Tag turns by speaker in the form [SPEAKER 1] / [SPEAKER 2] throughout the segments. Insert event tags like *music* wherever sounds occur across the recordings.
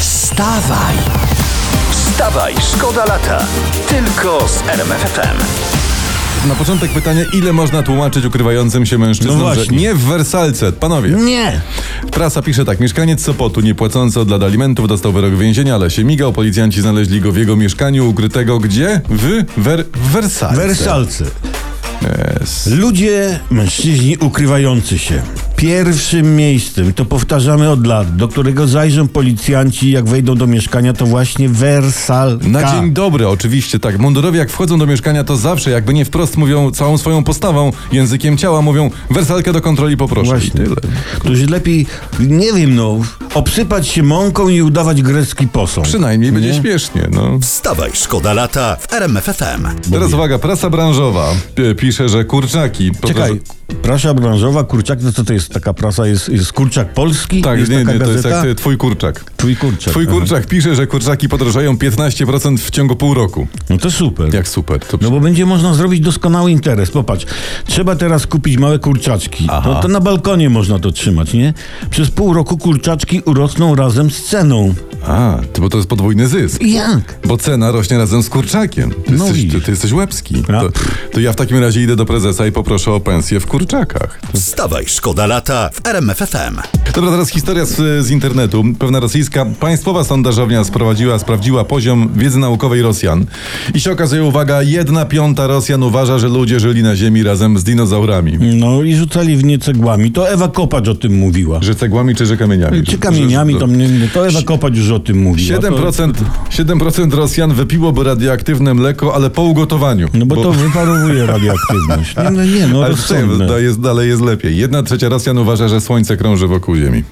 [SPEAKER 1] Wstawaj! Wstawaj, szkoda lata! Tylko z RMFFM.
[SPEAKER 2] Na początek pytanie, ile można tłumaczyć ukrywającym się mężczyznom,
[SPEAKER 3] No
[SPEAKER 2] że
[SPEAKER 3] właśnie.
[SPEAKER 2] nie w wersalce, panowie.
[SPEAKER 1] Nie!
[SPEAKER 2] Prasa pisze tak, mieszkaniec Sopotu, niepłacący od lat alimentów, dostał wyrok więzienia, ale się migał, policjanci znaleźli go w jego mieszkaniu, ukrytego gdzie? W, wer, w wersalce.
[SPEAKER 3] Wersalcy. Ludzie, mężczyźni ukrywający się. Pierwszym miejscem, i to powtarzamy od lat, do którego zajrzą policjanci, jak wejdą do mieszkania, to właśnie Wersalka.
[SPEAKER 2] Na dzień dobry, oczywiście, tak. Mundurowi jak wchodzą do mieszkania, to zawsze, jakby nie wprost mówią całą swoją postawą, językiem ciała mówią, wersalkę do kontroli poproszę. I
[SPEAKER 3] Właśnie.
[SPEAKER 2] tyle.
[SPEAKER 3] Którzy lepiej, nie wiem no, obsypać się mąką i udawać grecki posąg.
[SPEAKER 2] Przynajmniej będzie śmiesznie, no.
[SPEAKER 1] Wstawaj, szkoda lata w RMFFM.
[SPEAKER 2] Teraz uwaga, prasa branżowa e, pisze, że kurczaki...
[SPEAKER 3] Czekaj, prasa branżowa, kurczak, no co to jest taka prasa? Jest, jest kurczak polski?
[SPEAKER 2] Tak,
[SPEAKER 3] jest
[SPEAKER 2] nie,
[SPEAKER 3] taka
[SPEAKER 2] nie, to jest
[SPEAKER 3] gazeta?
[SPEAKER 2] jak ty, twój kurczak.
[SPEAKER 3] Twój kurczak.
[SPEAKER 2] Twój
[SPEAKER 3] aha.
[SPEAKER 2] kurczak pisze, że kurczaki podrożają 15% w ciągu pół roku.
[SPEAKER 3] No to super.
[SPEAKER 2] Jak super. To
[SPEAKER 3] No bo będzie można zrobić doskonały interes. Popatrz, trzeba teraz kupić małe kurczaczki. No to na balkonie można to trzymać, nie? Przez pół roku kurczaczki urosną razem z ceną.
[SPEAKER 2] A, to bo to jest podwójny zysk.
[SPEAKER 3] Jak?
[SPEAKER 2] Bo cena rośnie razem z kurczakiem. Ty,
[SPEAKER 3] No
[SPEAKER 2] jesteś,
[SPEAKER 3] i-
[SPEAKER 2] ty, ty jesteś łebski.
[SPEAKER 3] A.
[SPEAKER 2] To, to ja w takim razie idę do prezesa i poproszę o pensję w kurczakach.
[SPEAKER 1] Wstawaj, szkoda lata w RMFFM.
[SPEAKER 2] Dobra, teraz historia z, z internetu. Pewna rosyjska państwowa sondażownia sprowadziła, sprawdziła poziom wiedzy naukowej Rosjan. I się okazuje, uwaga, jedna piąta Rosjan uważa, że ludzie żyli na Ziemi razem z dinozaurami.
[SPEAKER 3] No i rzucali w nie cegłami. To Ewa Kopacz o tym mówiła.
[SPEAKER 2] Że cegłami czy że kamieniami?
[SPEAKER 3] Czy kamieniami,
[SPEAKER 2] Że-
[SPEAKER 3] to, mnie, nie- to Ewa Kopacz już o tym mówiła. To,
[SPEAKER 2] 7%, 7% Rosjan wypiłoby radioaktywne mleko, ale po ugotowaniu.
[SPEAKER 3] no bo, to wyparowuje radioaktywność. Nie, no nie, no
[SPEAKER 2] *laughs* ale w tym,
[SPEAKER 3] rozsądne.
[SPEAKER 2] da- jest, dalej jest lepiej. Jedna trzecia Rosjan uważa, że Słońce krąży wokół Ziemi.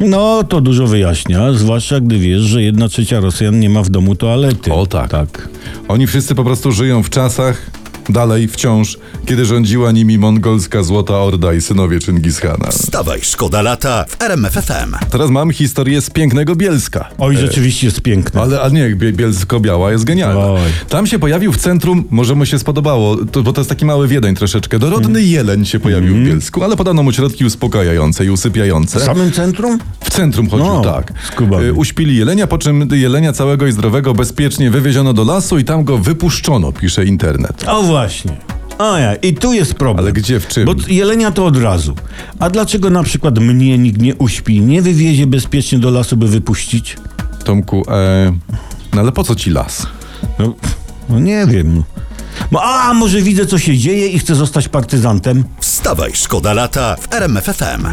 [SPEAKER 3] No to dużo wyjaśnia, zwłaszcza gdy wiesz, że jedna trzecia Rosjan nie ma w domu toalety.
[SPEAKER 2] O, tak. Oni wszyscy po prostu żyją w czasach, dalej, wciąż, kiedy rządziła nimi mongolska Złota Orda i synowie Chingishana.
[SPEAKER 1] Wstawaj, szkoda lata w RMFFM.
[SPEAKER 2] Teraz mam historię z pięknego Bielska.
[SPEAKER 3] Oj, rzeczywiście jest piękne.
[SPEAKER 2] Ale, ale nie, Bie- Bielsko-Biała jest genialna.
[SPEAKER 3] Oj.
[SPEAKER 2] Tam się pojawił w centrum, może mu się spodobało, to, bo to jest taki mały Wiedeń troszeczkę.
[SPEAKER 3] Mhm.
[SPEAKER 2] Dorodny jeleń się pojawił w Bielsku, ale podano mu środki uspokajające i
[SPEAKER 3] W
[SPEAKER 2] usypiające.
[SPEAKER 3] samym centrum?
[SPEAKER 2] W centrum chodził,
[SPEAKER 3] No,
[SPEAKER 2] tak.
[SPEAKER 3] z Kubami.
[SPEAKER 2] Y, Uśpili jelenia, po czym jelenia całego i zdrowego bezpiecznie wywieziono do lasu i tam go wypuszczono, pisze internet.
[SPEAKER 3] O właśnie. A ja, i tu jest problem.
[SPEAKER 2] Ale gdzie, w czym?
[SPEAKER 3] Bo jelenia to od razu. A dlaczego na przykład mnie nikt nie uśpi, nie wywiezie bezpiecznie do lasu, by wypuścić?
[SPEAKER 2] Tomku, e, no ale po co ci las?
[SPEAKER 3] No, no nie wiem. No, a może widzę, co się dzieje i chcę zostać partyzantem?
[SPEAKER 1] Wstawaj, szkoda lata w RMFFM.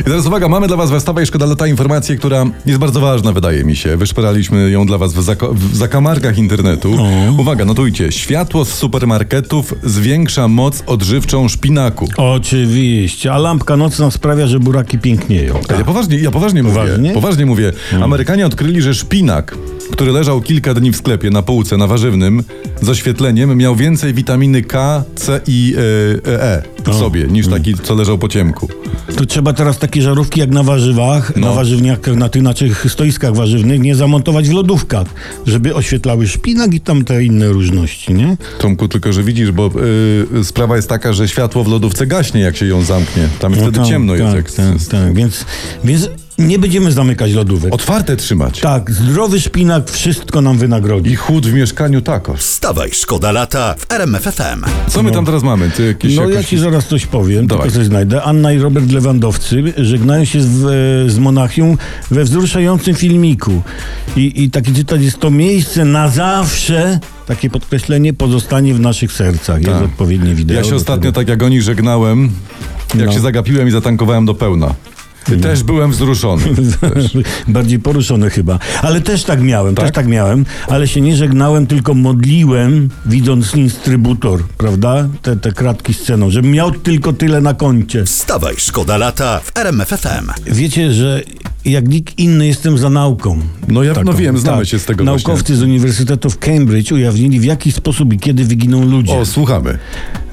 [SPEAKER 2] I teraz uwaga, mamy dla was we Wstawaj Szkoda Lata informację, która jest bardzo ważna, wydaje mi się. Wyszperaliśmy ją dla was w, zako- w zakamarkach internetu. Uwaga, notujcie. Światło z supermarketów zwiększa moc odżywczą szpinaku.
[SPEAKER 3] Oczywiście, a lampka nocna sprawia, że buraki pięknieją.
[SPEAKER 2] Ja poważnie, ja poważnie,
[SPEAKER 3] Tak. Poważnie?
[SPEAKER 2] mówię. Poważnie mówię. Amerykanie odkryli, że szpinak, który leżał kilka dni w sklepie na półce na warzywnym z oświetleniem, miał więcej witaminy K, C i e, e, e w sobie niż taki, co leżał po ciemku.
[SPEAKER 3] To trzeba teraz takie żarówki jak na warzywach,
[SPEAKER 2] No.
[SPEAKER 3] na warzywniach, na tych naszych stoiskach warzywnych nie zamontować w lodówkach, żeby oświetlały szpinak i tamte inne różności, nie?
[SPEAKER 2] Tomku, tylko że widzisz, bo y, sprawa jest taka, że światło w lodówce gaśnie, jak się ją zamknie. Tam
[SPEAKER 3] No
[SPEAKER 2] wtedy
[SPEAKER 3] tak,
[SPEAKER 2] ciemno jest.
[SPEAKER 3] tak,
[SPEAKER 2] Jak,
[SPEAKER 3] tak, tak. Więc, więc nie będziemy zamykać lodówek.
[SPEAKER 2] Otwarte trzymać.
[SPEAKER 3] Tak, zdrowy szpinak wszystko nam
[SPEAKER 2] I
[SPEAKER 3] wynagrodzi.
[SPEAKER 2] chłód w mieszkaniu takoż.
[SPEAKER 1] Wstawaj, szkoda lata w RMFFM.
[SPEAKER 2] Co my tam teraz mamy? Ty jakieś,
[SPEAKER 3] No ja
[SPEAKER 2] jakoś...
[SPEAKER 3] ci zaraz coś powiem,
[SPEAKER 2] Dawaj.
[SPEAKER 3] tylko coś znajdę. Anna i Robert Lewandowcy żegnają się z, e, z Monachium we wzruszającym filmiku. I, I taki cytat jest to miejsce na zawsze, takie podkreślenie, pozostanie w naszych sercach. Jest
[SPEAKER 2] Tak.
[SPEAKER 3] odpowiednie wideo.
[SPEAKER 2] Ja się
[SPEAKER 3] do tego.
[SPEAKER 2] ostatnio tak jak oni żegnałem, jak
[SPEAKER 3] No.
[SPEAKER 2] się zagapiłem i zatankowałem do pełna. Też byłem wzruszony.
[SPEAKER 3] *laughs* Bardziej poruszony chyba. Ale też tak miałem,
[SPEAKER 2] Tak?
[SPEAKER 3] też tak miałem, ale się nie żegnałem, tylko modliłem, widząc instrybutor, prawda? Te, te kratki z ceną, żebym miał tylko tyle na koncie.
[SPEAKER 1] Wstawaj, szkoda lata w RMFFM.
[SPEAKER 3] Wiecie, że jak nikt inny jestem za nauką. Tak.
[SPEAKER 2] No ja- no wiem, znamy się z tego właśnie.
[SPEAKER 3] Naukowcy z Uniwersytetu w Cambridge ujawnili w jaki sposób i kiedy wyginą ludzie.
[SPEAKER 2] O, słuchamy.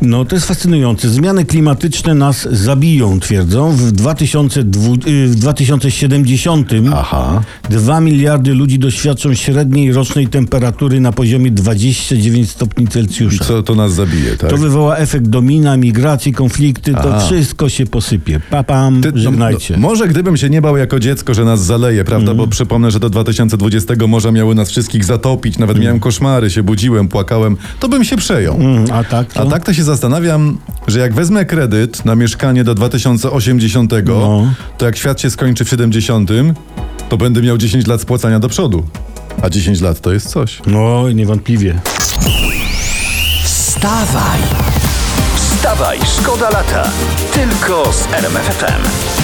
[SPEAKER 3] No to jest fascynujące. Zmiany klimatyczne nas zabiją, twierdzą. W, 2002, y, w 2070
[SPEAKER 2] Aha.
[SPEAKER 3] 2 miliardy ludzi doświadczą średniej rocznej temperatury na poziomie 29 stopni Celsjusza.
[SPEAKER 2] Co to nas zabije, tak?
[SPEAKER 3] To wywoła efekt domina, migracji, konflikty, to wszystko się posypie. Papam,
[SPEAKER 2] Ty- no,
[SPEAKER 3] żegnajcie. Mhm.
[SPEAKER 2] no, może gdybym się nie bał jako dziecko, że nas zaleje, prawda? Bo przypomnę, że do 2020 morza miały nas wszystkich zatopić, nawet
[SPEAKER 3] Mhm.
[SPEAKER 2] miałem koszmary, się budziłem, płakałem, to bym się przejął.
[SPEAKER 3] Mm, A tak? To?
[SPEAKER 2] A tak to się zastanawiam, że jak wezmę kredyt na mieszkanie do 2080,
[SPEAKER 3] No.
[SPEAKER 2] to jak świat się skończy w 70, to będę miał 10 lat spłacania do przodu. A 10 lat to jest coś.
[SPEAKER 3] No, niewątpliwie.
[SPEAKER 1] Wstawaj! Wstawaj, szkoda lata! Tylko z RMFFM.